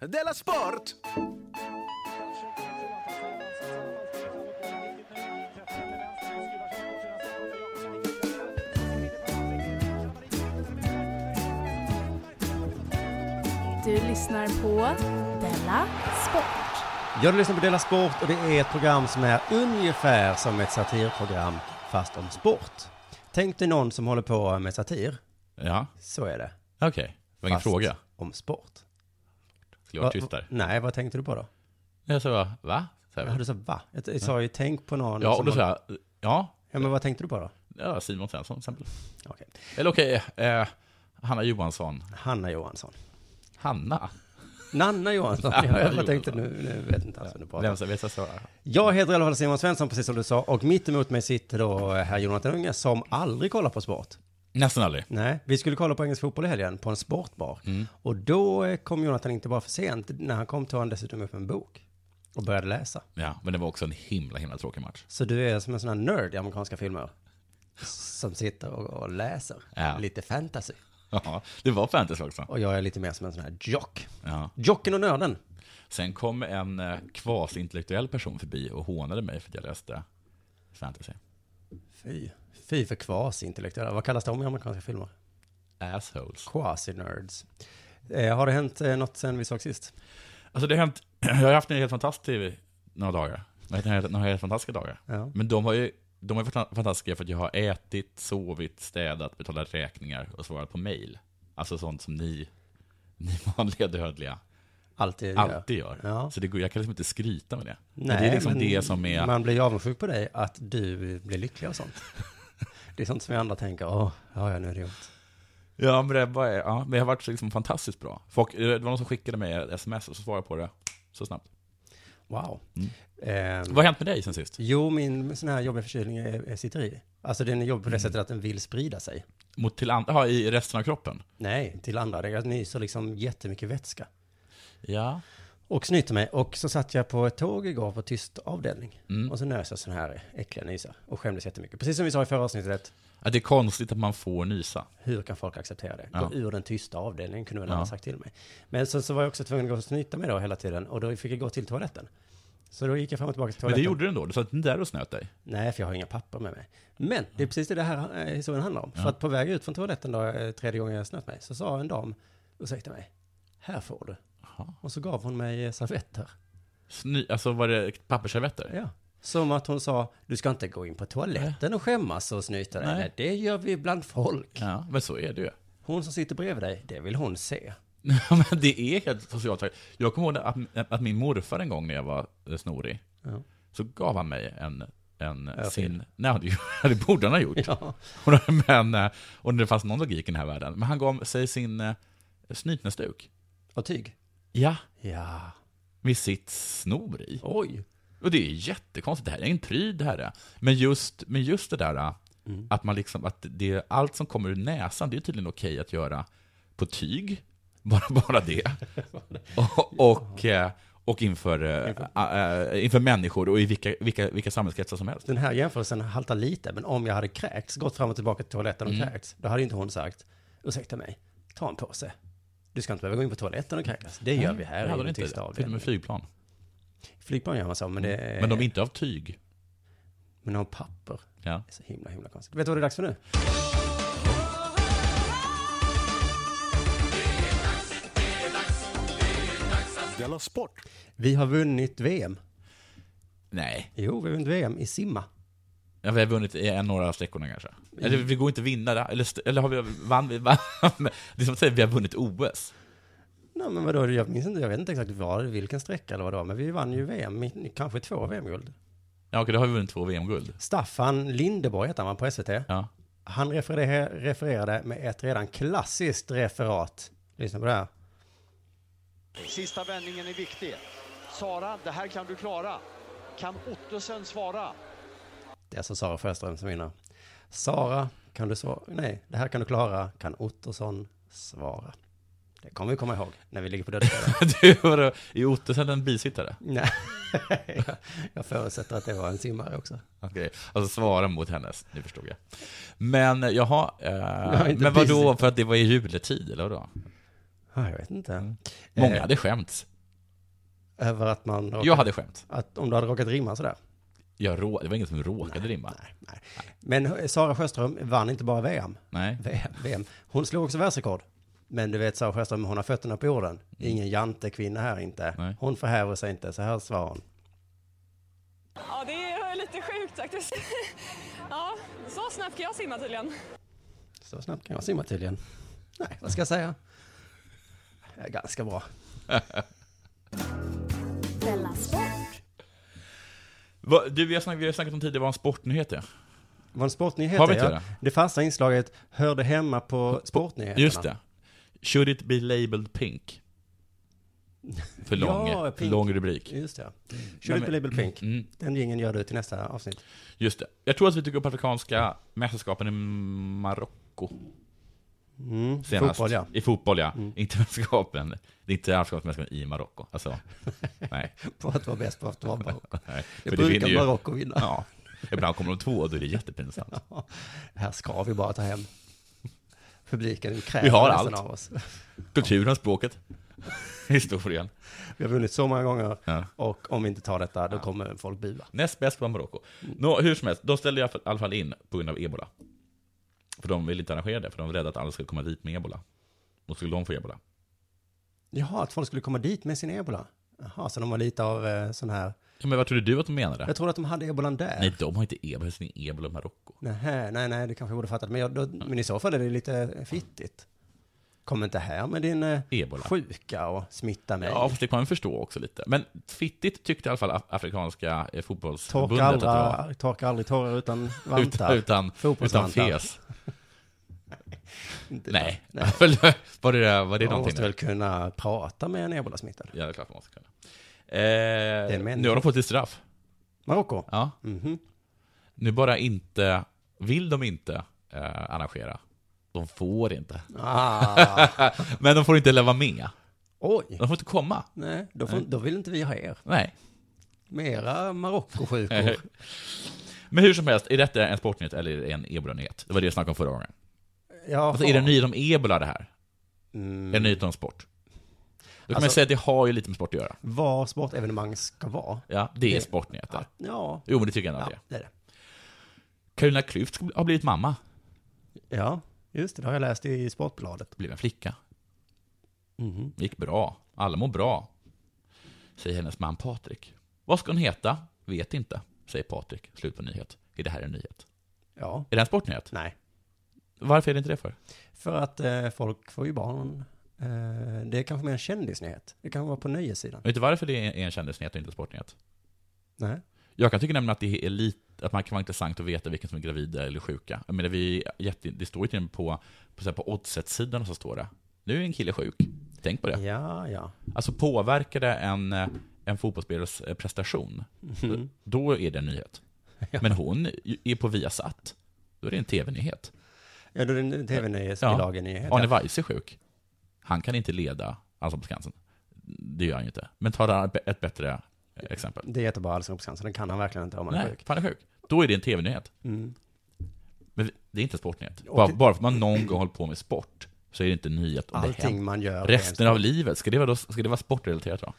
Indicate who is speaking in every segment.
Speaker 1: Della Sport!
Speaker 2: Du lyssnar på Della Sport.
Speaker 3: Ja, du lyssnar på Dela Sport och det är ett program som är ungefär som ett satirprogram fast om sport. Tänk dig någon som håller på med satir.
Speaker 4: Ja,
Speaker 3: Så är det.
Speaker 4: okej. Det var ingen
Speaker 3: Fast
Speaker 4: fråga.
Speaker 3: Om sport.
Speaker 4: Skulle jag varit
Speaker 3: Va-
Speaker 4: tyst där.
Speaker 3: Nej, vad tänkte du på då?
Speaker 4: Jag sa bara, va? Så här,
Speaker 3: Ja, du sa va? Jag, jag sa ju tänk på någon.
Speaker 4: ja,
Speaker 3: som
Speaker 4: och då
Speaker 3: håller-
Speaker 4: sa jag, ja,
Speaker 3: Ja, men vad tänkte du på då?
Speaker 4: ja Simon Svensson till exempel.
Speaker 3: Okej.
Speaker 4: Eller okej, eh, Hanna Johansson.
Speaker 3: Hanna Johansson.
Speaker 4: Hanna?
Speaker 3: Nanna Johansson.
Speaker 4: Nanna
Speaker 3: ja, jag tänkte nu,
Speaker 4: Johansson.
Speaker 3: nu vet inte alls vad du pratar om.
Speaker 4: Vem som vet jag svara?
Speaker 3: Jag heter i alla fall Simon Svensson, precis som du sa. Och mitt emot mig sitter då eh, herr Jonathan Unge som aldrig kollar på sport.
Speaker 4: Nästan aldrig.
Speaker 3: Nej, vi skulle kolla på engelsk fotboll i helgen på en sportbar. Och då eh, kom Jonathan inte bara för sent, när han kom tog han dessutom upp en bok och började läsa.
Speaker 4: Ja, men det var också en himla, himla tråkig match.
Speaker 3: Så du är som en sån här nörd i amerikanska filmer. Som sitter och, och läser
Speaker 4: Ja.
Speaker 3: lite fantasy.
Speaker 4: Ja, det var fantasy också.
Speaker 3: Och jag är lite mer som en sån här jock.
Speaker 4: Ja.
Speaker 3: Jocken och nörden.
Speaker 4: Sen kom en eh, kvasintellektuell person förbi och hånade mig för att jag läste fantasy.
Speaker 3: Fy. Fy för kvasintellektuella. Vad kallas de i amerikanska filmer?
Speaker 4: Assholes.
Speaker 3: Quasi-nerds. Eh, har det hänt eh, något sen vi såg sist?
Speaker 4: Alltså det har hänt, jag har haft en helt fantastisk några dagar. Jag har haft Några helt fantastiska dagar.
Speaker 3: Ja.
Speaker 4: Men de har ju de har varit fantastiska för att jag har ätit, sovit, städat, betalat räkningar och svarat på mejl. Alltså sånt som ni, ni vanliga dödliga
Speaker 3: Alltid.
Speaker 4: alltid gör.
Speaker 3: Ja.
Speaker 4: Så det, går- jag kan liksom inte skryta med det. Men
Speaker 3: Nej,
Speaker 4: det är liksom
Speaker 3: men
Speaker 4: det som är...
Speaker 3: Man blir ju avundsjuk på dig att du blir lycklig och sånt. Det är sånt som vi andra tänker, åh, ja, ja, nu är det gjort.
Speaker 4: Ja, men det, bara är, ja, men det har varit liksom fantastiskt bra. Folk, eh, det var någon som skickade mig ett sms och så svarade jag på det så snabbt.
Speaker 3: Wow.
Speaker 4: Mm.
Speaker 3: Ehm,
Speaker 4: Vad har hänt med dig sen sist?
Speaker 3: jo, min sån här jobbiga förkylning är, är sitter i. Alltså den är jobbig på det
Speaker 4: Mm.
Speaker 3: sättet att den vill sprida sig.
Speaker 4: Mot till andra, ja, i resten av kroppen?
Speaker 3: Nej, till andra. Jag nyser liksom jättemycket vätska.
Speaker 4: Ja.
Speaker 3: Och snyter mig. Och så satt jag på ett tåg igår på tyst avdelning.
Speaker 4: Mm.
Speaker 3: Och så nös jag sån här äckliga nysar. Och skämdes jättemycket. Precis som vi sa i förra avsnittet,
Speaker 4: Att det är konstigt att man får nysa.
Speaker 3: hur kan folk acceptera det?
Speaker 4: Ja.
Speaker 3: Gå ur den tysta avdelningen kunde väl
Speaker 4: Ja.
Speaker 3: någon ha sagt till mig. Men sen så var jag också tvungen att gå och snyta mig då hela tiden och då fick jag gå till toaletten. Så då gick jag fram och tillbaka till
Speaker 4: Men
Speaker 3: toaletten.
Speaker 4: det gjorde du ändå, du satt inte där och snöt dig.
Speaker 3: Nej, för jag har inga papper med mig. Men det är precis det det här eh, historien handlar om. För
Speaker 4: Ja.
Speaker 3: att på väg ut från toaletten då, eh, tredje gången jag snöt mig, så sa en dam, ursäkta mig, här får du.
Speaker 4: Jaha.
Speaker 3: Och så gav hon mig eh, servetter.
Speaker 4: Sny, alltså var det pappersservetter?
Speaker 3: Ja. Som att hon sa, du ska inte gå in på toaletten och skämmas och snyta dig.
Speaker 4: Nej.
Speaker 3: Nej, det gör vi bland folk.
Speaker 4: Ja, men så är det ju.
Speaker 3: Hon som sitter bredvid dig, det vill hon se.
Speaker 4: Ja, men det är helt socialt. Jag kommer ihåg att, att min morfar en gång när jag var eh, snorig,
Speaker 3: Ja.
Speaker 4: så gav han mig en, en
Speaker 3: Örfil.
Speaker 4: sin... Nej, det- det borde han ha gjort.
Speaker 3: Ja.
Speaker 4: Men, eh, och det fanns någon logik i den här världen. Men han gav sig sin eh, snytnäsduk.
Speaker 3: Och tyg.
Speaker 4: Ja.
Speaker 3: Ja.
Speaker 4: Med sitt snor i.
Speaker 3: Oj.
Speaker 4: Och det är jättekonstigt, det här är en pryd det här. är. Men just, men just det där eh,
Speaker 3: Mm.
Speaker 4: att man liksom, att det är allt som kommer ur näsan, det är tydligen okej att göra på tyg. Bara, bara det. Och, och, eh, och inför, eh, eh, inför människor och i vilka, vilka, vilka samhällskretsar som helst.
Speaker 3: Den här jämförelsen haltar lite, men om jag hade kräkts, gått fram och tillbaka till toaletten
Speaker 4: Mm.
Speaker 3: och kräkts, då hade inte hon sagt, ursäkta mig, ta en påse. Du ska inte behöva gå in på toaletten och kräkas. Det gör vi här
Speaker 4: Det
Speaker 3: i
Speaker 4: hade
Speaker 3: den
Speaker 4: de inte.
Speaker 3: tysta
Speaker 4: Till och
Speaker 3: avdelningen.
Speaker 4: med flygplan.
Speaker 3: Flygplan gör man så, men det är...
Speaker 4: Men de är inte av tyg.
Speaker 3: Men de har papper. Det
Speaker 4: Ja.
Speaker 3: är så himla, himla konstigt. Vet du vad det är dags för nu?
Speaker 1: Della Sport!
Speaker 3: Vi har vunnit VM.
Speaker 4: Nej.
Speaker 3: Jo, vi har vunnit VM i simma.
Speaker 4: Ja, vi har vunnit i en några av sträckorna kanske. Eller vi går inte att vinna där. Eller, st- eller har vi vann vi? Vann. Det är som att säga att vi har vunnit OS.
Speaker 3: Nej, men vadå, jag minns inte, jag vet inte exakt var, vilken sträcka eller vad det var, men vi vann ju VM, i- kanske två VM-guld.
Speaker 4: Ja, okej, då har vi vunnit två VM-guld.
Speaker 3: Staffan Lindeborg heter han på SVT.
Speaker 4: Ja.
Speaker 3: Han refererade, refererade med ett redan klassiskt referat. Lyssna på det här.
Speaker 5: Sista vändningen är viktig. Sara, det här kan du klara. Kan Ottesen svara?
Speaker 3: Det är alltså Sara Sjöström som vinner. Sara, kan du svara? Nej, det här kan du klara. Kan Ottosson svara? Det kommer vi komma ihåg när vi ligger på dödsbädden.
Speaker 4: Du, vadå? Är Ottesen en bisittare?
Speaker 3: Nej, jag, jag förutsätter att det var en simmare också.
Speaker 4: Okej, alltså svara mot hennes. Nu förstod jag. Men, jaha.
Speaker 3: Nej,
Speaker 4: Eh,
Speaker 3: inte
Speaker 4: men vadå,
Speaker 3: bisittare.
Speaker 4: för att det var i juletid, eller vadå?
Speaker 3: Ja, jag vet inte.
Speaker 4: Många
Speaker 3: Eh,
Speaker 4: hade skämts.
Speaker 3: över att man... Råkade,
Speaker 4: Jag hade skämt.
Speaker 3: att om du hade råkat rimma sådär.
Speaker 4: Jag rå, det var ingen som råkade rimma.
Speaker 3: Nej, nej. Men Sara Sjöström vann inte bara VM.
Speaker 4: Nej.
Speaker 3: VM. Hon slog också världsrekord. Men du vet Sara Sjöström, hon har fötterna på jorden. Ingen jantekvinna här inte.
Speaker 4: Mm. Nej.
Speaker 3: Hon förhäver sig inte. Så här svarar hon.
Speaker 6: Ja, det är lite sjukt faktiskt. Ja, så snabbt kan jag simma tydligen.
Speaker 3: Så snabbt kan jag simma tydligen. Nej, vad ska jag säga? Jag är ganska bra.
Speaker 2: Della Sport.
Speaker 4: Va, du, vi har, snackat, vi har snackat om tidigare vad en sportnyhet är.
Speaker 3: Vad en sportnyhet
Speaker 4: Har vi
Speaker 3: är,
Speaker 4: inte
Speaker 3: ja.
Speaker 4: det?
Speaker 3: Det fasta inslaget hörde hemma på sportnyheterna.
Speaker 4: Just det. Should it be labeled pink? För lång,
Speaker 3: Ja,
Speaker 4: för
Speaker 3: pink.
Speaker 4: lång rubrik.
Speaker 3: Just det. Should it be label pink.
Speaker 4: Mm,
Speaker 3: Den gingen gör du till nästa avsnitt.
Speaker 4: just det. Jag tror att vi tog upp Afrikanska mästerskapen i Marocko
Speaker 3: Mm,
Speaker 4: senast.
Speaker 3: Fotboll, ja.
Speaker 4: I fotboll, ja. Mm. Inte mästerskapen. Det är inte Afrikanska mästerskapen i Marocko. Alltså, nej.
Speaker 3: På att vara bäst på att vara bra.
Speaker 4: nej.
Speaker 3: Det
Speaker 4: För
Speaker 3: brukar
Speaker 4: vinner ju-
Speaker 3: Marocko vinna.
Speaker 4: Ja. Ibland kommer de två och då är det jättepinsamt.
Speaker 3: Ja, det här ska vi bara ta hem. Publiken kräver
Speaker 4: Vi har
Speaker 3: nästan
Speaker 4: allt.
Speaker 3: av oss.
Speaker 4: Kulturen, språket, historien.
Speaker 3: Vi har vunnit så många gånger
Speaker 4: Ja.
Speaker 3: och om vi inte tar detta då kommer folk bua.
Speaker 4: Näst bäst var Marocko. Nå, hur som helst, de ställde i alla fall- i alla fall in på grund av ebola. För de ville inte arrangera det, för de var rädda att alla skulle komma dit med ebola. Och skulle de få ebola.
Speaker 3: Jaha, att folk skulle komma dit med sin ebola. Jaha, så de var lite av eh, sån här.
Speaker 4: Ja, men vad trodde du att de menade?
Speaker 3: Jag trodde att de hade ebolan där.
Speaker 4: Nej, de har inte ebola, det är ebola i Marocko.
Speaker 3: Nähä, nej, nej, det kanske jag borde fattat. Men, jag, då, men i så fall är det lite fittigt. Kom inte här med din eh,
Speaker 4: Ebola.
Speaker 3: sjuka och smitta mig.
Speaker 4: Ja, fast det kan man förstå också lite. Men fittigt tyckte i alla fall Af- Afrikanska eh, fotbollsförbundet
Speaker 3: Torka,
Speaker 4: att det var.
Speaker 3: aldrig, torka aldrig tårar utan vantar.
Speaker 4: Utan, utan, utan
Speaker 3: Fotbollsvantar.
Speaker 4: fes.
Speaker 3: Inte
Speaker 4: Nej.
Speaker 3: Nej.
Speaker 4: var det, var det
Speaker 3: Man
Speaker 4: någonting?
Speaker 3: måste väl kunna prata med en ebolasmittad.
Speaker 4: Ja, det är klart man måste kunna. Eh,
Speaker 3: en människa.
Speaker 4: nu har de fått ett straff.
Speaker 3: Marocko?
Speaker 4: Ja.
Speaker 3: Mhm.
Speaker 4: Nu bara inte, vill de inte eh, arrangera. De får inte.
Speaker 3: Ah,
Speaker 4: Men de får inte leva med.
Speaker 3: oj.
Speaker 4: De får inte komma.
Speaker 3: Nej, då, får, då vill inte vi ha er.
Speaker 4: Nej.
Speaker 3: Mera
Speaker 4: Eh,
Speaker 3: Marocko-sjukor.
Speaker 4: Men hur som helst, är detta en sportnyhet eller är det en ebola-nyhet? Det var det jag snackade om förra gången.
Speaker 3: Jaha.
Speaker 4: Alltså, är det en nyhet om ebola det här? Är det en
Speaker 3: Mm,
Speaker 4: nyhet om sport? Då kan man
Speaker 3: Alltså-
Speaker 4: säga att det har ju lite med sport att göra.
Speaker 3: vad sportevenemang ska vara?
Speaker 4: Ja, det är
Speaker 3: Det-
Speaker 4: sportnyheter.
Speaker 3: Ja,
Speaker 4: Jo, men det tycker jag nog
Speaker 3: ja
Speaker 4: att det är.
Speaker 3: det är det.
Speaker 4: Carolina Klüft ska bli- har blivit mamma.
Speaker 3: Ja, just det. Det har jag läst i Sportbladet. Mm-hmm.
Speaker 4: Blev en flicka. Det gick bra. Alla mår bra. Säger hennes man Patrik. Vad ska hon heta? Vet inte. Säger Patrik. Slut på nyhet. Är det här en nyhet?
Speaker 3: Ja.
Speaker 4: Är det en sportnyhet?
Speaker 3: Nej.
Speaker 4: Varför är det inte det för?
Speaker 3: För att eh, folk får ju barn. Eh, det är kanske mer en kändisnyhet. Det kan vara på nöjessidan.
Speaker 4: Vet du varför det är en kändisnyhet och inte en sportnyhet?
Speaker 3: Nej.
Speaker 4: Jag kan tycka nämligen att det är lite, att man kan vara intressant att veta vilken som är gravida eller sjuka. Jag menar, vi är jätte, det står ju till och med på, på, så här, på oddset-sidan så står det. Nu är en kille sjuk. Tänk på det.
Speaker 3: Ja, ja.
Speaker 4: Alltså påverkar det en, eh, en fotbollsspelares eh, prestation, då är det en nyhet. Men hon är på Viasat, då är det en tv-nyhet.
Speaker 3: Ja, då är det en tv-nyhetsbilagenyhet.
Speaker 4: Arne Weise är sjuk. Han kan inte leda Allsång på Skansen. Det gör han ju inte. Men ta det här ett bättre eh, exempel.
Speaker 3: Det heter bara Allsång på Skansen. Den kan han verkligen inte om han är
Speaker 4: Nej,
Speaker 3: sjuk.
Speaker 4: fan är sjuk. Då är det en tv-nyhet.
Speaker 3: Mm.
Speaker 4: Men det är inte en sportnyhet.
Speaker 3: Och
Speaker 4: Bara,
Speaker 3: det-
Speaker 4: bara för att man någon gång håller på med sport, så är det inte en nyhet om det händer.
Speaker 3: Allting man gör.
Speaker 4: Resten av livet, ska det vara, då, ska det vara sportrelaterat då?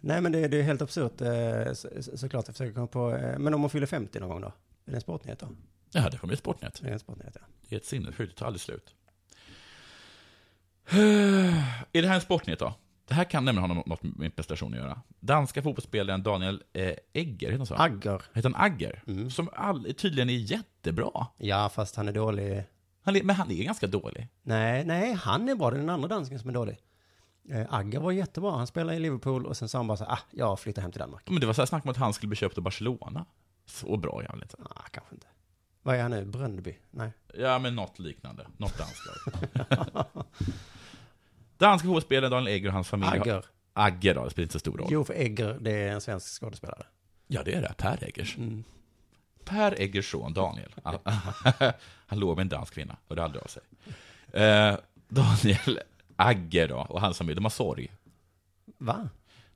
Speaker 3: Nej, men det, det är helt absurt. eh, så- så- Såklart, jag försöker komma på... eh, Men om hon fyller 50 någon gång då? Är det en sportnyhet då?
Speaker 4: Ja, det kommer bli en sportnyhet.
Speaker 3: Det är en sportnyhet, ja.
Speaker 4: Det är ett sinnessjukt, det tar aldrig slut. är det här en sportnyhet då? Det här kan nämligen ha nå- något med min prestation att göra. Danska fotbollsspelaren Daniel eh, Egger, heter han så?
Speaker 3: Agger.
Speaker 4: heter han Agger?
Speaker 3: Mm.
Speaker 4: Som all, tydligen är jättebra.
Speaker 3: Ja, fast han är dålig.
Speaker 4: Han är, men han är ganska dålig.
Speaker 3: Nej, nej, han är bra. Det är den andra dansken som är dålig. Eh, Agger var jättebra. Han spelade i Liverpool och sen sa han bara så här, ah, jag flyttar hem till Danmark.
Speaker 4: Men det var så här snack om att han skulle bli köpt av Barcelona. Så bra är han väl inte?
Speaker 3: Ah, kanske inte. Vad är han nu? Bröndby? Nej.
Speaker 4: Ja, men något liknande. Något danskt lag. Danska fotbollsspelaren Daniel Egger och hans familj. har-
Speaker 3: Agger.
Speaker 4: Agger då, det spelar inte så stor roll.
Speaker 3: Jo, för Egger, det är en svensk skådespelare.
Speaker 4: Ja, det är det. Per Eggers.
Speaker 3: Mm.
Speaker 4: Per Eggers son Daniel. Han låg med en dansk kvinna, och det hörde av sig. Eh, Daniel Agger då, och hans familj, de har sorg.
Speaker 3: Va?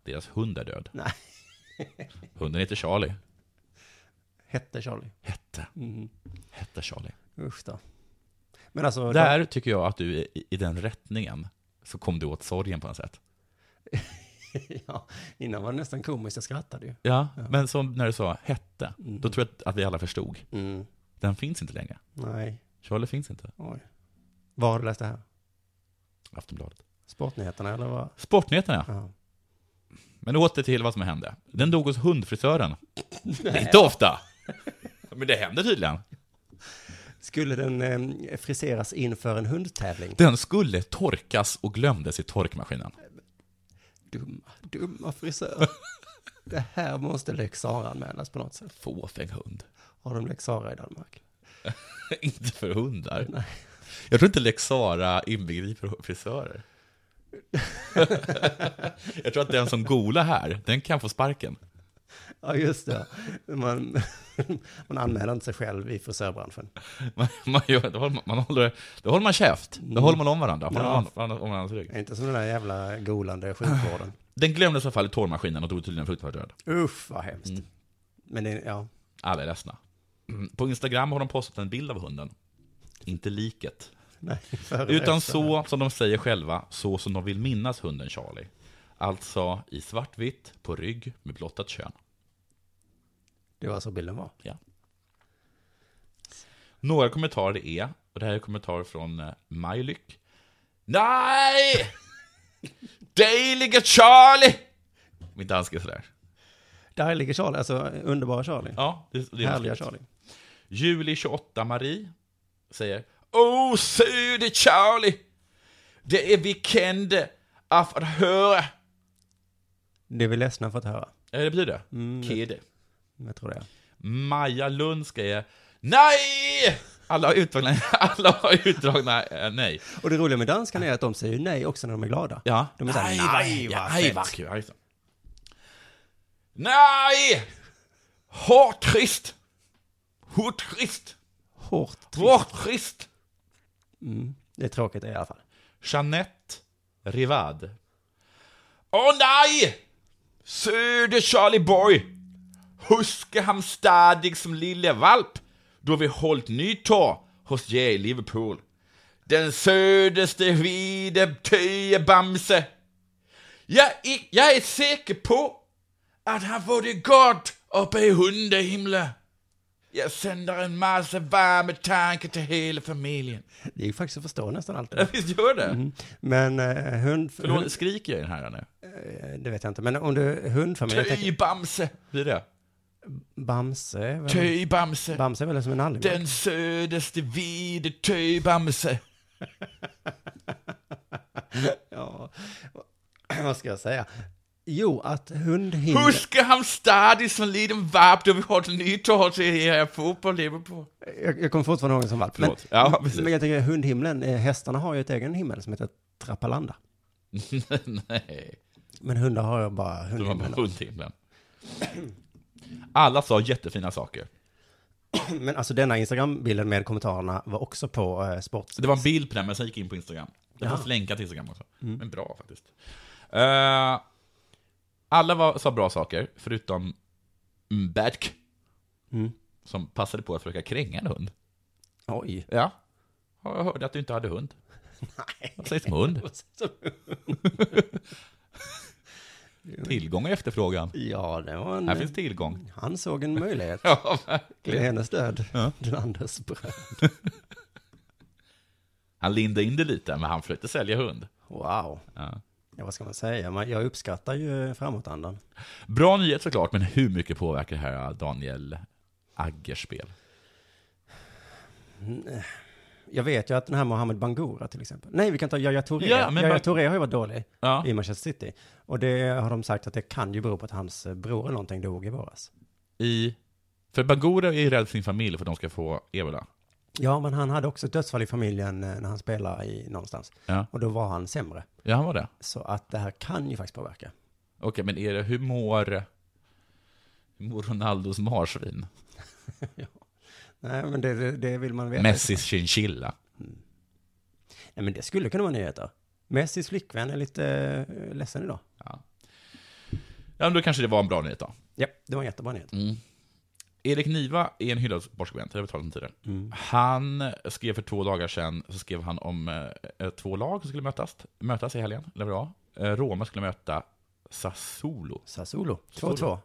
Speaker 4: Deras hund är död.
Speaker 3: Nej.
Speaker 4: Hunden heter Charlie.
Speaker 3: Hette Charlie.
Speaker 4: Hette.
Speaker 3: Mm.
Speaker 4: Hette Charlie.
Speaker 3: Usch då. Men alltså,
Speaker 4: Där tycker jag att du, är i i den rättningen, så kom du åt sorgen på något sätt.
Speaker 3: ja, innan var det nästan komiskt, jag skrattade ju.
Speaker 4: Ja, Mm. men som när du sa hette, då tror jag att- att vi alla förstod.
Speaker 3: Mm.
Speaker 4: Den finns inte längre.
Speaker 3: Nej,
Speaker 4: Charlie finns inte.
Speaker 3: oj. Var har du läst det här?
Speaker 4: Aftonbladet.
Speaker 3: Sportnyheterna eller vad?
Speaker 4: Sportnyheterna,
Speaker 3: Ja.
Speaker 4: men åter till vad som hände. Den dog hos hundfrisören. Det är inte ofta. Men det händer tydligen.
Speaker 3: Skulle den eh, friseras inför en hundtävling?
Speaker 4: Den skulle torkas och glömdes i torkmaskinen.
Speaker 3: Dumma, dumma frisör. det här måste Lex Sara anmälas på något sätt.
Speaker 4: Fåfäng hund.
Speaker 3: Har de Lex Sara i Danmark?
Speaker 4: inte för hundar. Jag tror inte Lex Sara inbegriper frisörer. jag tror att den som gola här, den kan få sparken.
Speaker 3: Ja, just det. Man, man anmäler inte sig själv i frisörbranschen.
Speaker 4: Man, man, gör, då, håller man, man håller, då håller man käft, då håller man om varandra. Man
Speaker 3: Ja.
Speaker 4: håller varandra, om varandras rygg.
Speaker 3: Inte som den där jävla golande sjukvården.
Speaker 4: Den glömdes i alla fall i torrmaskinen och dog tydligen fruktansvärt död.
Speaker 3: Usch, vad hemskt. Men det, ja,
Speaker 4: Alla är ledsna. Mm. På Instagram har de postat en bild av hunden. Inte liket.
Speaker 3: nej. före
Speaker 4: Utan
Speaker 3: efter.
Speaker 4: så, som de säger själva, så som de vill minnas hunden Charlie. Alltså i svartvitt, på rygg, med blottat kön.
Speaker 3: Det var så bilden var.
Speaker 4: Ja. Några kommentarer är, och det här är kommentarer från eh, Maj-Lyck. Nej! Dejliga Charlie! Min danska är sådär.
Speaker 3: Där ligger Charlie, alltså underbara Charlie.
Speaker 4: Ja, det, det är
Speaker 3: Härliga
Speaker 4: roligt.
Speaker 3: Charlie.
Speaker 4: Juli 28, Marie säger Åh, söde Charlie! Det är vi kände av att höra.
Speaker 3: Det är vi ledsna för att höra.
Speaker 4: Eh, Det blir det.
Speaker 3: Mm,
Speaker 4: Kid.
Speaker 3: Jag tror det.
Speaker 4: Maja Lundska är Nej! Alla har utdragna, alla har utdragna eh, nej.
Speaker 3: Och det roliga med danskarna är att de säger nej också när de är glada.
Speaker 4: Ja.
Speaker 3: De är såhär, nej, nej,
Speaker 4: ja,
Speaker 3: vad
Speaker 4: nej,
Speaker 3: fett.
Speaker 4: vad kul. Ja, just det. Nej! Hårtrist! Hårtrist!
Speaker 3: Hårt.
Speaker 4: Hårtrist!
Speaker 3: Det är tråkigt i alla fall.
Speaker 4: Jeanette Rivad. Åh nej! Söder Charlie Boy! Huske han stadig som lille valp då vi hållit nytår hos J i Liverpool. Den södeste vide töje Bamse. Jag, är- jag är säker på att han får det gott uppe i hundehimlen. Jag sänder en massa varma tankar till hela familjen.
Speaker 3: Det är ju faktiskt att förstå nästan allt. det.
Speaker 4: Visst gör det?
Speaker 3: Men eh, hund...
Speaker 4: Äh. Förlåt, skriker jag i den här nu?
Speaker 3: hund- Det vet jag inte. Men om du hundfamilj... jag tänker-
Speaker 4: Töj Bamse! Blir det?
Speaker 3: Bamse? är väl-
Speaker 4: Töj Bamse!
Speaker 3: Bamse är väl som en allmänna?
Speaker 4: Den södaste vide Töj Bamse!
Speaker 3: Ja, vad ska jag säga? Jo, att hundhinder...
Speaker 4: Huske han stadig som liten varp då vi har till nytår till er fotboll Liverpool.
Speaker 3: Jag, jag kommer fortfarande ihåg det som valp. Men,
Speaker 4: Förlåt. Ja, precis.
Speaker 3: men jag tänker hundhimlen, eh, hästarna har ju ett egen himmel som heter Trappalanda.
Speaker 4: Nej,
Speaker 3: Men hundar har ju bara
Speaker 4: det var bara
Speaker 3: hundhimlen.
Speaker 4: hundhimlen. Alla sa jättefina saker.
Speaker 3: Men alltså denna Instagram-bilden med kommentarerna var också på eh, sport.
Speaker 4: Det var en bild på den, men sen gick jag in på Instagram. Jag
Speaker 3: Ja.
Speaker 4: måste länka till Instagram också. Men bra faktiskt. Eh, alla var, sa bra saker, förutom Mbätk.
Speaker 3: Mm.
Speaker 4: Som passade på att försöka kränga en hund.
Speaker 3: Oj.
Speaker 4: Ja. Ja, Jag hörde att du inte hade hund. Vad sägs om hund? Tillgång och efterfrågan.
Speaker 3: Ja, det var
Speaker 4: Här
Speaker 3: en...
Speaker 4: finns tillgång.
Speaker 3: Han såg en möjlighet.
Speaker 4: Ja,
Speaker 3: Till hennes död.
Speaker 4: Ja.
Speaker 3: Till Anders bröd.
Speaker 4: Han lindade in det lite, men han försökte sälja hund.
Speaker 3: Wow.
Speaker 4: Ja.
Speaker 3: Ja, vad ska man säga? Man- Jag uppskattar ju framåtandan.
Speaker 4: Bra nyhet såklart, men hur mycket påverkar det här Daniel Aggers spel?
Speaker 3: Jag vet ju att den här Mohamed Bangura till exempel. Nej, vi kan ta Yahya Touré.
Speaker 4: Ja, men
Speaker 3: Yahya
Speaker 4: Bang-
Speaker 3: Touré har ju varit dålig
Speaker 4: Ja.
Speaker 3: i Manchester City. Och det har de sagt att det kan ju bero på att hans eh, bror eller någonting dog i våras.
Speaker 4: I... För Bagura är ju rädd för sin familj för att de ska få ebola.
Speaker 3: Ja, men han hade också ett dödsfall i familjen eh, när han spelade i någonstans.
Speaker 4: Ja.
Speaker 3: Och då var han sämre.
Speaker 4: Ja, han var det.
Speaker 3: Så att det här kan ju faktiskt påverka.
Speaker 4: Okej, men är det, hur mår... Hur mår Ronaldos marsvin?
Speaker 3: Nej, men det, det, det vill man veta.
Speaker 4: Messis chinchilla.
Speaker 3: Nej, men det skulle kunna vara nyheter. Messis flickvän är lite eh, ledsen idag.
Speaker 4: Ja, men då kanske det var en bra nyhet då.
Speaker 3: Ja, det var en jättebra nyhet.
Speaker 4: Mm. Erik Niva är en hyllad sportskribent, det har vi talat om tidigare. Han skrev för två dagar sedan, så skrev han om eh, eh, två lag som skulle mötas, mötas i helgen, eller vad det var. Eh, Roma skulle möta Sassuolo.
Speaker 3: Sassuolo, 2-2.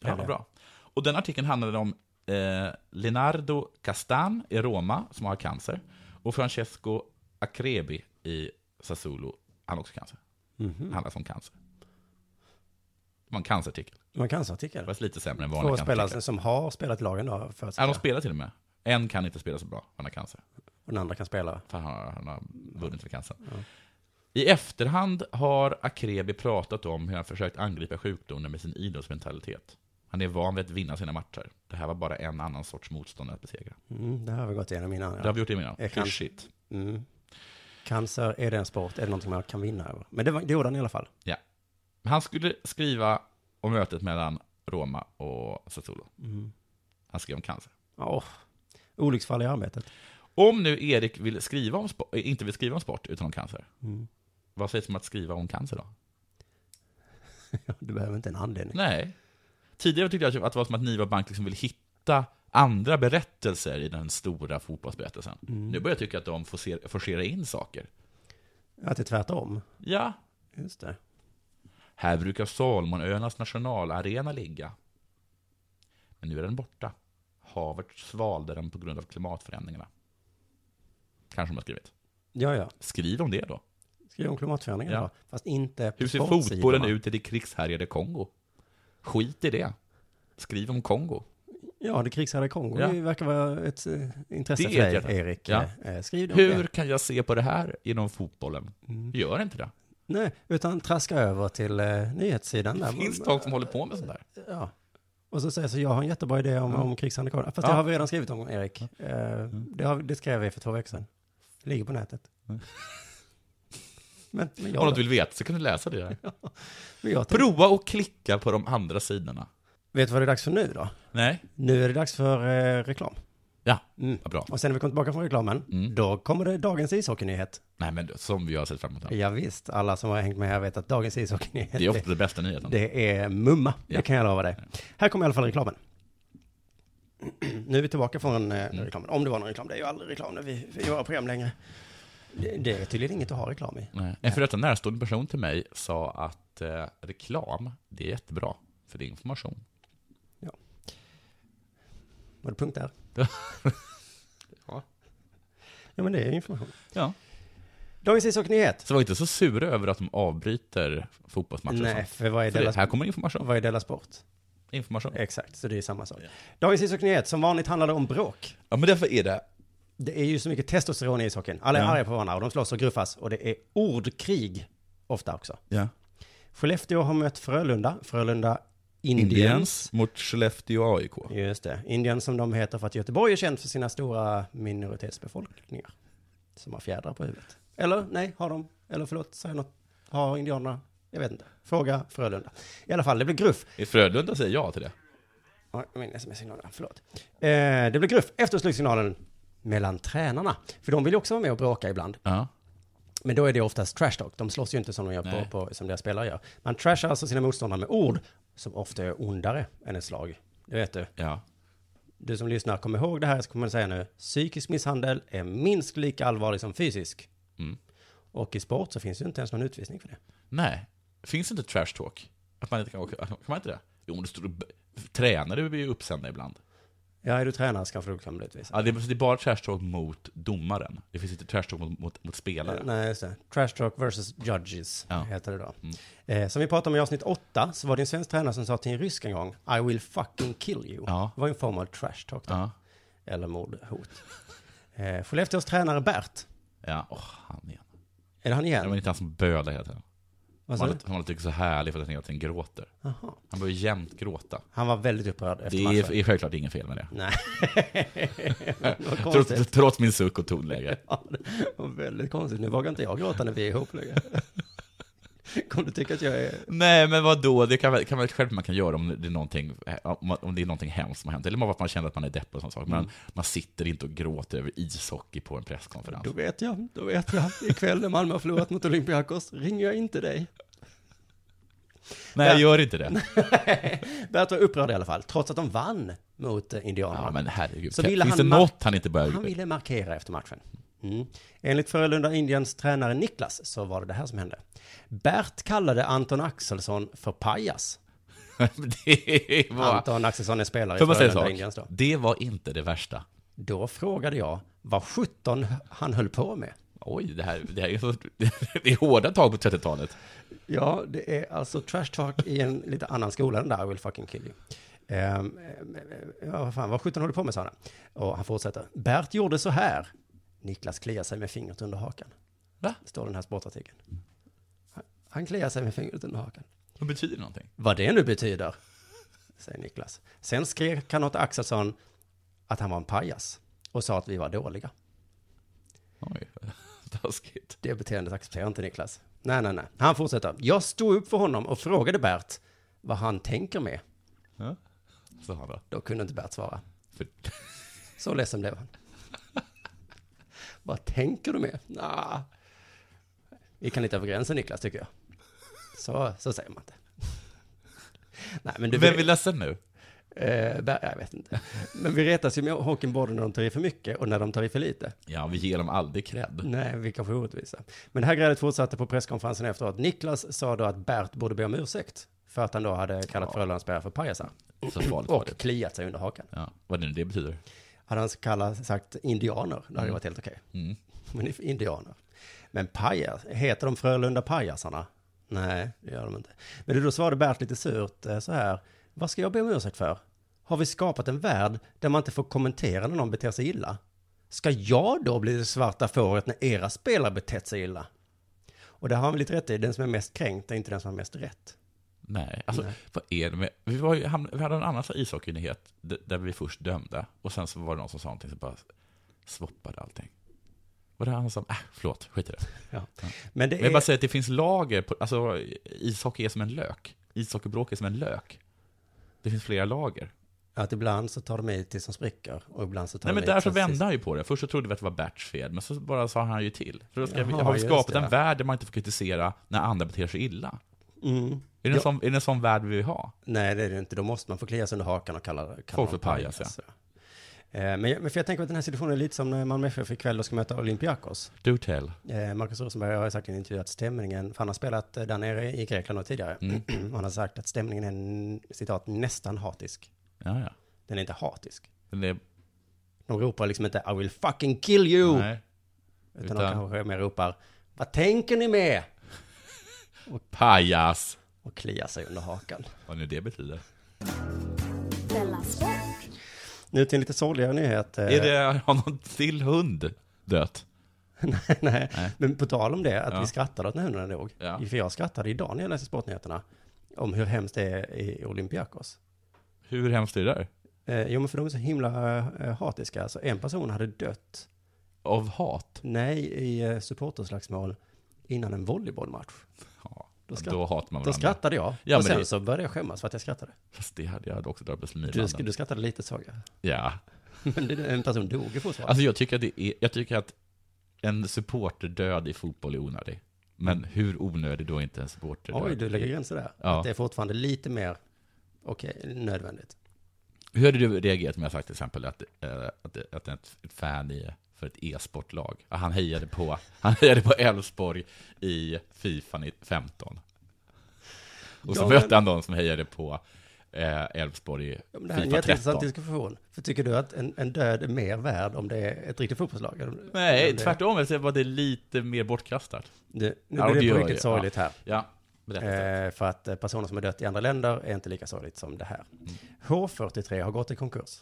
Speaker 4: Ja, vad bra. Och den artikeln handlade om eh, Leonardo Castan i Roma, som har cancer, och Francesco Acrebi i Sassuolo, han har också cancer. Handlar som cancer. Det var en cancerartikel,
Speaker 3: Man kan så artikel.
Speaker 4: fast lite sämre än
Speaker 3: Två
Speaker 4: vanliga cancerartiklar.
Speaker 3: spelare som har spelat i lagen då, för
Speaker 4: Ja, de spelar till och med. En kan inte spela så bra, han har cancer.
Speaker 3: och den andra kan spela.
Speaker 4: För han har, han har vunnit för cancern. I efterhand har Akrebi pratat om hur han försökt angripa sjukdomen med sin idrottsmentalitet. Han är van vid att vinna sina matcher. Det här var bara en annan sorts motståndare att besegra.
Speaker 3: Mm, det här har vi gått igenom innan.
Speaker 4: Det har
Speaker 3: Ja.
Speaker 4: vi gjort innan.
Speaker 3: Jag kan-
Speaker 4: Hur shit.
Speaker 3: Mm. Cancer, är det en sport? Är det någonting man kan vinna över? Men det, var, det gjorde han i alla fall.
Speaker 4: Ja. Han skulle skriva om mötet mellan Roma och Sassuolo.
Speaker 3: Mm.
Speaker 4: Han skrev om cancer.
Speaker 3: Åh, olycksfall i arbetet.
Speaker 4: Om nu Erik vill skriva om spo- inte vill skriva om sport utan om cancer,
Speaker 3: Mm.
Speaker 4: vad sägs om att skriva om cancer då?
Speaker 3: Du behöver inte en anledning.
Speaker 4: Nej. Tidigare tyckte jag typ att det var som att Niva Bank liksom vill hitta andra berättelser i den stora fotbollsberättelsen. Nu börjar jag tycka att de forcer- forcerar in saker.
Speaker 3: Att det är tvärtom.
Speaker 4: Ja,
Speaker 3: Just det.
Speaker 4: här brukar Salomonöarnas nationalarena ligga. Men nu är den borta. Havet svalde den på grund av klimatförändringarna. Kanske de har skrivit.
Speaker 3: Ja, ja.
Speaker 4: Skriv om det då.
Speaker 3: Skriv om klimatförändringar
Speaker 4: Ja.
Speaker 3: då. Fast inte på
Speaker 4: Hur ser
Speaker 3: sportsidorna.
Speaker 4: fotbollen ut i det krigshärjade Kongo? Skit i det. Skriv om Kongo.
Speaker 3: Ja, det krigshärjade Kongo.
Speaker 4: Ja.
Speaker 3: Det verkar vara ett eh, intresse
Speaker 4: Det
Speaker 3: för dig,
Speaker 4: är det.
Speaker 3: Erik.
Speaker 4: Ja.
Speaker 3: Eh, Skriv det om
Speaker 4: Hur
Speaker 3: det.
Speaker 4: kan jag se på det här genom fotbollen? Gör inte det.
Speaker 3: Mm. Nej, utan traska över till eh, nyhetssidan där.
Speaker 4: Det finns folk som håller på med sånt där.
Speaker 3: Ja. Och så säger jag så, jag har en jättebra idé om, om krigshärjade Kongo. Fast det
Speaker 4: Ja. Mm.
Speaker 3: har vi redan skrivit om, Erik. Eh, Det, har, vi- det skrev vi för två veckor sedan. Det ligger på nätet. men, men
Speaker 4: Om
Speaker 3: jag,
Speaker 4: Mm. du vill veta så kan du läsa det där.
Speaker 3: men jag tänkte,
Speaker 4: Prova och klicka på de andra sidorna.
Speaker 3: Vet du vad det är dags för nu då?
Speaker 4: Nej?
Speaker 3: Nu är det dags för eh, reklam.
Speaker 4: Ja,
Speaker 3: Mm.
Speaker 4: vad bra.
Speaker 3: Och sen när vi kommer tillbaka från reklamen,
Speaker 4: Mm.
Speaker 3: då kommer det dagens ishockeynyhet.
Speaker 4: Nej, men som vi har sett fram emot. här.
Speaker 3: Ja, visst, alla som har hängt med här vet att dagens ishockeynyhet,
Speaker 4: Det är ofta det bästa nyheten.
Speaker 3: det är mumma.
Speaker 4: Ja.
Speaker 3: Det kan jag lova dig. Här kommer i alla fall reklamen. nu är vi tillbaka från eh,
Speaker 4: Mm.
Speaker 3: reklamen. Om det var någon reklam, det är ju aldrig reklam när vi, vi gör program längre. Det, det är tydligen inget att ha reklam i.
Speaker 4: Nej. En för detta närstående person till mig sa att eh, reklam, det är jättebra, för det är information.
Speaker 3: Var det punkt där?
Speaker 4: Ja.
Speaker 3: Ja, men det är information.
Speaker 4: ja.
Speaker 3: Dagens ishockeynyhet.
Speaker 4: Så var inte så sura över att de avbryter fotbollsmatcher och
Speaker 3: Nej,
Speaker 4: sånt.
Speaker 3: för vad är
Speaker 4: För det,
Speaker 3: Della
Speaker 4: här kommer information.
Speaker 3: vad är Della Sport?
Speaker 4: information.
Speaker 3: Exakt, så det är samma sak. Dagens ishockeynyhet, som vanligt handlar det om bråk.
Speaker 4: Ja, men därför är det...
Speaker 3: Det är ju så mycket testosteron i ishockeyn. Alla är
Speaker 4: Ja.
Speaker 3: arga på varandra och de slåss och gruffas. Och det är ordkrig ofta också.
Speaker 4: Ja.
Speaker 3: Skellefteå har mött Frölunda. Frölunda Indians.
Speaker 4: Indians mot Skellefteå AIK.
Speaker 3: Just det. Indians som de heter för att Göteborg är känt för sina stora minoritetsbefolkningar. Som har fjädrar på huvudet. Eller nej, har de? Eller förlåt, säger jag något? Har indianerna? Jag vet inte. Fråga Frölunda. I alla fall, det blir gruff.
Speaker 4: I Frölunda säger ja till det.
Speaker 3: Ja, min sms-signal, ja, förlåt. Eh, det blir gruff efter slutsignalen mellan tränarna. För de vill ju också vara med och bråka ibland.
Speaker 4: Ja.
Speaker 3: Men då är det oftast trash talk. De slåss ju inte som de gör
Speaker 4: Nej.
Speaker 3: på, på, som deras spelare gör. Man trashar alltså sina motståndare med ord som ofta är ondare än ett slag. Det vet du.
Speaker 4: ja.
Speaker 3: Du som lyssnar, kom ihåg det här så kommer jag säga nu. Psykisk misshandel är minst lika allvarlig som fysisk.
Speaker 4: Mm.
Speaker 3: Och i sport så finns ju inte ens någon utvisning för det.
Speaker 4: Nej. Finns inte trash talk? Att man inte kan, åka, kan man inte det? Jo, men det står, tränare blir ju uppsända ibland.
Speaker 3: Ja, är du tränare så kanske du kan bli utvisad.
Speaker 4: Ja, det, är, det är bara trash talk mot domaren. Det finns inte trash talk mot, mot, mot spelare.
Speaker 3: Nej, just det. Trash Talk versus Judges
Speaker 4: Ja. Mm.
Speaker 3: heter det då. Eh, som vi pratade om i avsnitt åtta så var det en svensk tränare som sa till en rysk en gång I will fucking kill you.
Speaker 4: Ja.
Speaker 3: Det var ju en form av trash talk då.
Speaker 4: Ja.
Speaker 3: Eller mordhot. Eh, Skellefteås tränare Bert,
Speaker 4: Ja, åh, han igen.
Speaker 3: är det han
Speaker 4: Det
Speaker 3: igen?
Speaker 4: var inte han som bölade hela tiden.
Speaker 3: Vad
Speaker 4: Han
Speaker 3: sa
Speaker 4: håller-
Speaker 3: du?
Speaker 4: han håller tycker så härlig för att han hela tiden gråter.
Speaker 3: Jaha.
Speaker 4: Han börjar jämt gråta.
Speaker 3: Han var väldigt upprörd efter
Speaker 4: Det är,
Speaker 3: matchen.
Speaker 4: är självklart inget fel med det.
Speaker 3: Nej. Vad
Speaker 4: Trots,
Speaker 3: konstigt.
Speaker 4: trots min suck och tonläge.
Speaker 3: Ja, det var väldigt konstigt. Nu vågar inte jag gråta när vi är ihop längre. Kommer du tycka att jag är...
Speaker 4: Nej, men vad då? Det kan, väl- kan väl själv man kan göra om det är någonting, om man- om det är någonting hemskt som har hänt. Eller bara att man känner att man är deppig och sån sak. Men
Speaker 3: Mm.
Speaker 4: man sitter inte och gråter över ishockey på en presskonferens.
Speaker 3: Då vet jag, då vet jag. Ikväll när Malmö har förlorat mot Olympiakos ringer jag inte dig.
Speaker 4: Nej, jag gör inte det.
Speaker 3: Bert var upprörd i alla fall, trots att de vann mot eh, Indianerna.
Speaker 4: Ja, men herregud.
Speaker 3: Så
Speaker 4: Kan-
Speaker 3: ville
Speaker 4: Finns
Speaker 3: han
Speaker 4: det
Speaker 3: ma-
Speaker 4: något han inte börjar...
Speaker 3: Han ville markera efter matchen. Mm. Enligt Frölunda Indians tränare Niklas så var det det här som hände. Bert kallade Anton Axelsson för pajas.
Speaker 4: det var...
Speaker 3: Anton Axelsson är spelare i
Speaker 4: Får man säga
Speaker 3: Frölunda
Speaker 4: en
Speaker 3: Indians
Speaker 4: sak?
Speaker 3: då.
Speaker 4: Det var inte det värsta.
Speaker 3: Då frågade jag vad 17 han höll på med.
Speaker 4: Oj, det här, det här är, så, det är hårda tag på 30-talet.
Speaker 3: Ja, det är alltså trash talk i en lite annan skola än där, I will fucking kill you. Ehm, eh, ja, vad fan, vad sjutton håller du på med, sa han. Och han fortsätter. Bert gjorde så här. Niklas kliar sig med fingret under hakan.
Speaker 4: Va?
Speaker 3: Står den här sportartikeln. Han- Han kliar sig med fingret under hakan.
Speaker 4: Vad betyder det någonting?
Speaker 3: Vad det nu betyder, säger Niklas. Sen skrek Kanot Axelsson att han var en pajas och sa att vi var dåliga.
Speaker 4: Oj, taskigt.
Speaker 3: Det beteendet accepterar inte Niklas. Nej, nej, nej. Han fortsätter. Jag stod upp för honom och frågade Bert vad han tänker med.
Speaker 4: Ja, sa han då.
Speaker 3: Då kunde inte Bert svara.
Speaker 4: För,
Speaker 3: Så ledsen blev han. Vad tänker du med? Nah. Vi kan inte över gränsen Niklas, tycker jag. Så, så säger man inte. Nej, men du,
Speaker 4: vem är ledsen nu?
Speaker 3: Eh, Ber- jag vet inte. Men vi retas ju med Håkan både när de tar i för mycket och när de tar i för lite.
Speaker 4: Ja, vi ger dem aldrig cred.
Speaker 3: Nej, vi kanske är orättvisa. Men det här grälet fortsatte på presskonferensen efteråt. Niklas sa då att Bert borde be om ursäkt för att han då hade kallat Frölundaspelare för pajasar
Speaker 4: Så farligt var
Speaker 3: och
Speaker 4: det.
Speaker 3: kliat sig under hakan.
Speaker 4: Ja, vad det nu det betyder.
Speaker 3: Hade han kallat, sagt indianer, då
Speaker 4: Mm.
Speaker 3: hade det varit helt okej. Men det är indianer. Men pajas, heter de Frölunda pajasarna? Nej, det gör de inte. Men då svarade Bert lite surt eh, så här, vad ska jag be om ursäkt för? Har vi skapat en värld där man inte får kommentera när någon beter sig illa? Ska jag då bli det svarta fåret när era spelare betett sig illa? Och det har han väl lite rätt i, den som är mest kränkt är inte den som har mest rätt.
Speaker 4: Nej, alltså vad är det med... Vi, var ju, hamn- vi hade en annan så här ishockeynyhet d- där vi först dömde och sen så var det någon som sa någonting som bara swappade allting. Var det han som, äh, förlåt, skit i det.
Speaker 3: Ja. Men det
Speaker 4: Men jag
Speaker 3: är...
Speaker 4: bara säger att det finns lager, på, alltså ishockey är som en lök. Ishockeybråk är som en lök. Det finns flera lager.
Speaker 3: Att ibland så tar de i tills de spricker och ibland så tar
Speaker 4: Nej
Speaker 3: de
Speaker 4: men
Speaker 3: i
Speaker 4: där så
Speaker 3: tills de
Speaker 4: vände han ju på det. Först så trodde vi att det var Berts fel, men så bara sa han ju till. För då ska vi,
Speaker 3: Jaha,
Speaker 4: har vi
Speaker 3: just
Speaker 4: skapat
Speaker 3: det.
Speaker 4: en värld där man inte får kritisera när andra beter sig illa? Är, det en
Speaker 3: Mm. Ja.
Speaker 4: sån, är det en sån värld vi vill ha?
Speaker 3: Nej, det är det inte. Då måste man få klia sig under hakan och kalla, kalla
Speaker 4: Folk för
Speaker 3: dem
Speaker 4: pajas,
Speaker 3: ja. Eh, Men, jag- men för jag tänker att den här situationen är lite som när Malmö FF ikväll då ska möta Olympiakos.
Speaker 4: Do tell.
Speaker 3: Eh, Marcus Rosenberg har ju sagt i en intervju att stämningen, för han har spelat eh, där nere i Grekland då tidigare,
Speaker 4: Mm.
Speaker 3: och han har sagt att stämningen är, n- citat, nästan hatisk.
Speaker 4: Ja, ja.
Speaker 3: Den är inte hatisk.
Speaker 4: Men det,
Speaker 3: De ropar liksom inte I will fucking kill you,
Speaker 4: nej.
Speaker 3: utan,
Speaker 4: utan-
Speaker 3: de kanske mer ropar Vad tänker ni med?
Speaker 4: Pajas!
Speaker 3: Och kliar sig under hakan.
Speaker 4: Vad nu det betyder.
Speaker 2: Della Sport.
Speaker 3: Nu till en lite sorgligare nyhet. eh,
Speaker 4: Är det, har någon till hund dött?
Speaker 3: Nej, men på tal om det, att vi skrattade åt när hundarna dog.
Speaker 4: Ja.
Speaker 3: För jag skrattade idag när jag läste Sportnyheterna om hur hemskt det är i Olympiakos.
Speaker 4: Hur hemskt är det där?
Speaker 3: Eh, jo, men för de är så himla eh, hatiska. Alltså, en person hade dött,
Speaker 4: Av hat?
Speaker 3: nej, i eh, supporterslagsmål innan en volleybollmatch.
Speaker 4: Ja,
Speaker 3: Då
Speaker 4: då,
Speaker 3: skratt-
Speaker 4: hatar man
Speaker 3: Då
Speaker 4: varandra.
Speaker 3: skrattade jag,
Speaker 4: Ja,
Speaker 3: och
Speaker 4: men
Speaker 3: sen
Speaker 4: det-
Speaker 3: så började jag skämmas för att jag skrattade.
Speaker 4: Fast det hade jag också dragit
Speaker 3: Du,
Speaker 4: slimhinnan.
Speaker 3: sk- du skrattade lite, såg jag.
Speaker 4: Ja.
Speaker 3: Men det, en person dog ju fortfarande.
Speaker 4: Alltså jag tycker att det är, jag tycker att en supporterdöd i fotboll är onödig. Men hur onödig då är inte en supporterdöd?
Speaker 3: Oj, du lägger gränser där.
Speaker 4: Ja.
Speaker 3: Att det är fortfarande lite mer, okej, nödvändigt.
Speaker 4: Hur hade du reagerat om jag sagt till exempel att, eh, att, att ett fan i för ett e-sportlag, han hejade på, han hejade på Elfsborg i Fifa 15. Och så
Speaker 3: Ja, men-
Speaker 4: mötte han någon som hejade på eh, Elfsborg i
Speaker 3: Ja, men det här är en
Speaker 4: Fifa
Speaker 3: jätteintressant
Speaker 4: 13.
Speaker 3: diskussion. För tycker du att en, en död är mer värd om det är ett riktigt fotbollslag? Eller om- eller
Speaker 4: Nej,
Speaker 3: om det-
Speaker 4: tvärtom, jag säger bara att det är lite mer bortkastat.
Speaker 3: Nu, nu
Speaker 4: Ja,
Speaker 3: blir det
Speaker 4: gör
Speaker 3: på riktigt
Speaker 4: det.
Speaker 3: sorgligt här.
Speaker 4: Ja, berätta.
Speaker 3: Eh, för att eh, personer som är dött i andra länder är inte lika sorgligt som det här.
Speaker 4: Mm.
Speaker 3: H43 har gått i konkurs.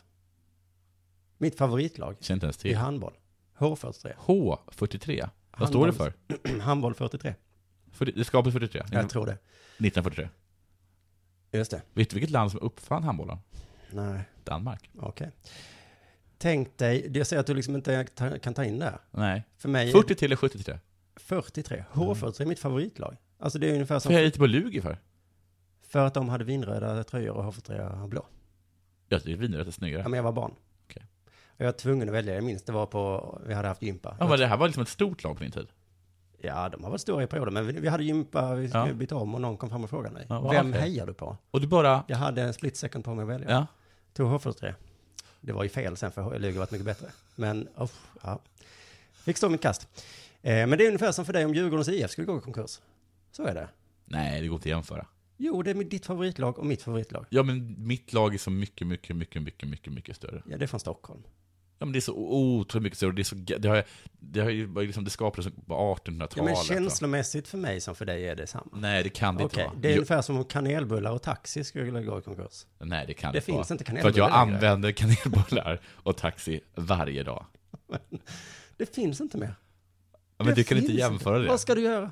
Speaker 3: Mitt favoritlag
Speaker 4: Känner inte ens
Speaker 3: i
Speaker 4: till.
Speaker 3: handboll. H43.
Speaker 4: H43, vad står det för?
Speaker 3: handboll 43.
Speaker 4: För det- det skapades 43?
Speaker 3: Jag tror det.
Speaker 4: 1943.
Speaker 3: Just det.
Speaker 4: Vet du vilket land som uppfann handbollen?
Speaker 3: Nej,
Speaker 4: Danmark.
Speaker 3: okej. Tänk dig, jag säger att du liksom inte ta- kan ta in det här.
Speaker 4: Nej.
Speaker 3: För mig är
Speaker 4: 40 till eller 73?
Speaker 3: 43. H43 är mitt favoritlag. Alltså det är ungefär som
Speaker 4: Varför är jag lite på lug för?
Speaker 3: För att de hade vinröda tröjor och H43 blå.
Speaker 4: Jag tycker vinrött är
Speaker 3: Ja,
Speaker 4: snyggare.
Speaker 3: men jag var barn.
Speaker 4: Okej.
Speaker 3: Och jag var tvungen att välja, jag minns det var på, vi hade haft gympa.
Speaker 4: Ja, men det här var liksom ett stort lag på din tid.
Speaker 3: Ja, de har varit stora i perioder, men vi, vi hade gympa, vi skulle
Speaker 4: Ja.
Speaker 3: byta om och någon kom fram och frågade mig.
Speaker 4: Ja, vad
Speaker 3: Vem
Speaker 4: okej.
Speaker 3: hejar du på?
Speaker 4: Och du bara...
Speaker 3: Jag hade en split second på mig att välja.
Speaker 4: Ja.
Speaker 3: Tog H43. Det var ju fel sen, för Lugi varit mycket bättre. Men, uff, ja. Fick stå mitt kast. Eh, men det är ungefär som för dig om Djurgårdens IF skulle gå i konkurs. Så är det.
Speaker 4: Nej, det går inte att jämföra.
Speaker 3: Jo, det är med ditt favoritlag och mitt favoritlag.
Speaker 4: Ja, men mitt lag är så mycket, mycket, mycket, mycket, mycket, mycket större.
Speaker 3: Ja, det är från Stockholm.
Speaker 4: Ja, men det är så otroligt mycket större. Det, är så, det, har, det, har, ju- liksom, det skapades på 1800-talet.
Speaker 3: Ja, men
Speaker 4: va?
Speaker 3: känslomässigt för mig som för dig är det samma.
Speaker 4: Nej, det kan det
Speaker 3: Okej,
Speaker 4: inte
Speaker 3: det är
Speaker 4: vara.
Speaker 3: ungefär som om kanelbullar och taxi skulle gå i konkurs.
Speaker 4: Jo, nej, det kan
Speaker 3: Det
Speaker 4: inte
Speaker 3: finns
Speaker 4: vara.
Speaker 3: inte
Speaker 4: För att jag
Speaker 3: kanelbullar längre.
Speaker 4: använder kanelbullar och taxi varje dag.
Speaker 3: Det finns inte mer.
Speaker 4: Ja, men du kan inte
Speaker 3: finns
Speaker 4: jämföra det.
Speaker 3: Vad ska du göra?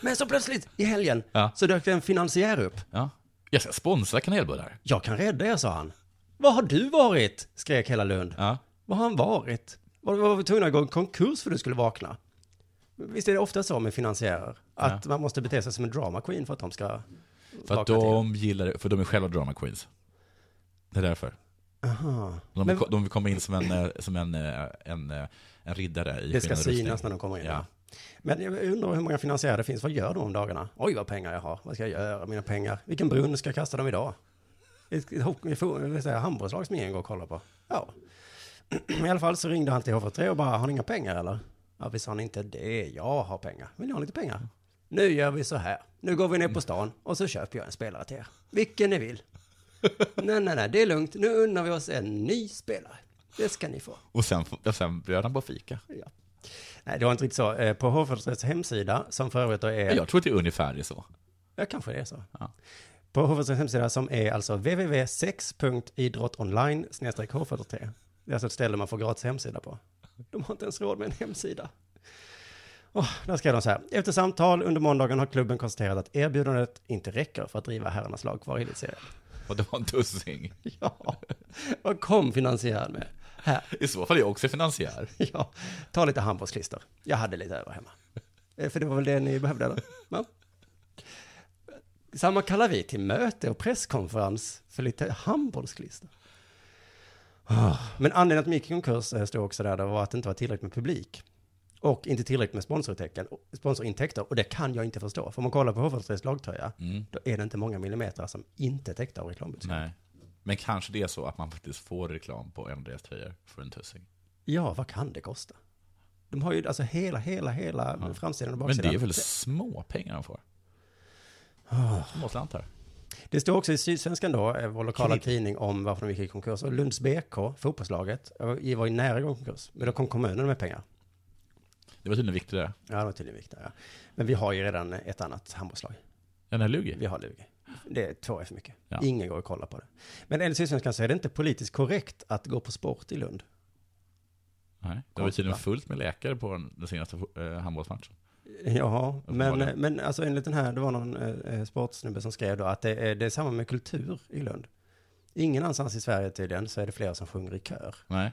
Speaker 3: Men så plötsligt, i helgen,
Speaker 4: Ja.
Speaker 3: så dök det en finansiär upp.
Speaker 4: Ja. Jag ska sponsra kanelbullar.
Speaker 3: Jag kan rädda er, sa han. Var har du varit? skrek hela Lund.
Speaker 4: Ja.
Speaker 3: Var har han varit? Var var vi tvungna att gå i konkurs för att du skulle vakna? Visst är det ofta så med finansiärer? Att man måste bete sig som en drama queen för att de ska
Speaker 4: För att
Speaker 3: vakna till.
Speaker 4: de gillar det, för de är själva drama queens. Det är därför.
Speaker 3: Aha.
Speaker 4: De,
Speaker 3: Men-
Speaker 4: vill ko- de vill komma in som en, eh, som en, eh, en, eh, en riddare i
Speaker 3: Det ska
Speaker 4: skenande rustning.
Speaker 3: synas när de kommer in.
Speaker 4: Ja.
Speaker 3: Men jag undrar hur många finansiärer det finns. Vad gör de om dagarna? Oj, vad pengar jag har. Vad ska jag göra med mina pengar? Vilken brunn ska jag kasta dem idag? Ett ett ho- ett fo- ett så här handbollslag som ingen går och kollar på. Ja. I alla fall så ringde han till HV3 och bara, har ni inga pengar eller? Ja, vi sa han inte det. Jag har pengar. Vill ni ha lite pengar? Nu gör vi så här. Nu går vi ner på stan och så köper jag en spelare till er. Vilken ni vill. Nej, nej, nej, det är lugnt. Nu unnar vi oss en ny spelare. Det ska ni få.
Speaker 4: Och sen, f- och sen bjöd han på fika.
Speaker 3: Nej, det var inte riktigt så. Eh, På HV3s hemsida, som för övrigt då är...
Speaker 4: Jag tror att det är ungefär så.
Speaker 3: Ja, kanske det är så.
Speaker 4: Ja.
Speaker 3: På HV3s hemsida som är alltså www.sex.idrottonline H43. Det är alltså ett ställe man får gratis hemsida på. De har inte ens råd med en hemsida. Oh, där skrev de så här. Efter samtal under måndagen har klubben konstaterat att erbjudandet inte räcker för att driva herrarnas lag kvar i elitserien.
Speaker 4: Och det var en tussing.
Speaker 3: Ja, vad kom finansiären med? Här,
Speaker 4: I så fall är jag också finansiär.
Speaker 3: ja, ta lite handbollsklister. Jag hade lite över hemma. Eh, För det var väl det ni behövde, eller? Ja. Samma kallar vi till möte och presskonferens för lite handbollsklister. Ah, Men anledningen att de gick i konkurs eh, stod också där, det var att det inte var tillräckligt med publik. Och inte tillräckligt med sponsorintäkter, sponsorintäkter. Och det kan jag inte förstå. För om man kollar på HV3s lagtröja, då är det inte många millimeter som inte är täckta av reklambudskap.
Speaker 4: Mm. Nej. Men kanske det är så att man faktiskt får reklam på en av deras tröjor för en tussing.
Speaker 3: Ja, vad kan det kosta? De har ju alltså hela, hela, hela framsidan och
Speaker 4: Men
Speaker 3: baksidan.
Speaker 4: det är väl små pengar de får?
Speaker 3: Ah.
Speaker 4: Små slantar.
Speaker 3: Det står också i Sydsvenskan då, eh, vår lokala tidning, om varför de gick i konkurs. Och Lunds BK, fotbollslaget, eh, var ju nära igång konkurs. Men då kom kommunen med pengar.
Speaker 4: Det var tydligen viktigt det.
Speaker 3: Ja, det var tydligen viktigt. Ja. Men vi har ju redan ett annat handbollslag.
Speaker 4: Den här Lugi.
Speaker 3: Vi har Lugi. Det är två är för mycket.
Speaker 4: Ja.
Speaker 3: Ingen går och kollar på det. Men enligt Sydsvenskan så är det inte politiskt korrekt att gå på sport i Lund.
Speaker 4: Nej. Det var tydligen
Speaker 3: Kontra.
Speaker 4: fullt med läkare på den- den senaste eh, handbollsmatchen.
Speaker 3: Jaha, men,
Speaker 4: Uppenbarligen.
Speaker 3: men alltså enligt den här, det var någon eh, sportsnubbe som skrev då att det är, det är samma med kultur i Lund. Ingen annanstans i Sverige tydligen så är det flera som sjunger i kör.
Speaker 4: Nej.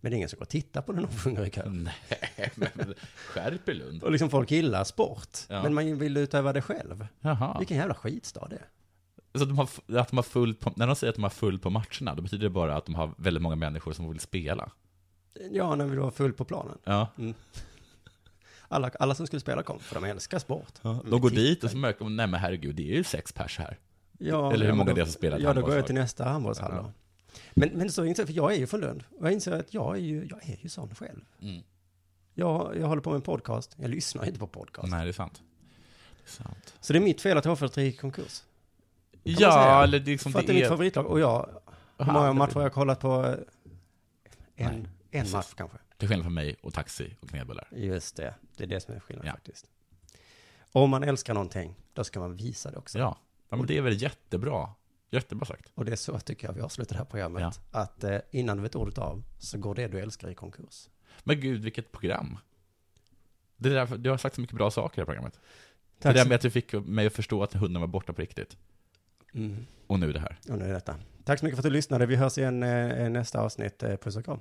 Speaker 3: Men det är ingen som går och tittar på när någon sjunger i kör.
Speaker 4: Nej, men skärp er Lund.
Speaker 3: Och liksom folk gillar sport,
Speaker 4: Ja.
Speaker 3: men man vill utöva det själv.
Speaker 4: Jaha.
Speaker 3: Vilken jävla skitstad det är.
Speaker 4: Så att de har, f- att de har full på, när de säger att de har full på matcherna, då betyder det bara att de har väldigt många människor som vill spela. Mm.
Speaker 3: Ja, när vi var full på planen.
Speaker 4: Ja.
Speaker 3: Alla, alla som skulle spela kom, för de älskar sport.
Speaker 4: De går dit och så märker de, nej men herregud, det är ju sex pers här.
Speaker 3: Ja,
Speaker 4: Eller hur
Speaker 3: ja,
Speaker 4: många
Speaker 3: men då-
Speaker 4: det är som spelar i
Speaker 3: Ja, då går
Speaker 4: handbollslag.
Speaker 3: jag till nästa handbollshall då. Men, men så inser jag, för jag är ju från Lund. Och jag inser att jag är ju, jag är ju sån själv.
Speaker 4: Mm.
Speaker 3: Jag, jag håller på med en podcast, jag lyssnar inte på podcast.
Speaker 4: Nej, det är sant. Det är sant.
Speaker 3: Så det är mitt fel att H43 gick i konkurs. man säga.
Speaker 4: Ja, eller det är liksom
Speaker 3: För att det
Speaker 4: det
Speaker 3: är mitt
Speaker 4: är...
Speaker 3: favoritlag. Och jag, hur många matcher har jag kollat på? eh, En, en match kanske.
Speaker 4: Till skillnad från mig och taxi och knäbullar.
Speaker 3: Just det, det är det som är skillnaden
Speaker 4: Ja.
Speaker 3: faktiskt. Om man älskar någonting, då ska man visa det också.
Speaker 4: Ja. ja, men det är väl jättebra. Jättebra sagt.
Speaker 3: Och det är så tycker jag vi avslutar det här programmet. Att eh, innan du vet ordet av, så går det du älskar i konkurs.
Speaker 4: Men gud, vilket program. Det där, du har sagt så mycket bra saker i det här programmet.
Speaker 3: Tack
Speaker 4: det där
Speaker 3: så-
Speaker 4: med att du fick mig att förstå att hunden var borta på riktigt. Och nu det här.
Speaker 3: Mm. Och nu är detta. Tack så mycket för att du lyssnade. Vi hörs igen eh, nästa avsnitt. Eh, Puss och kram.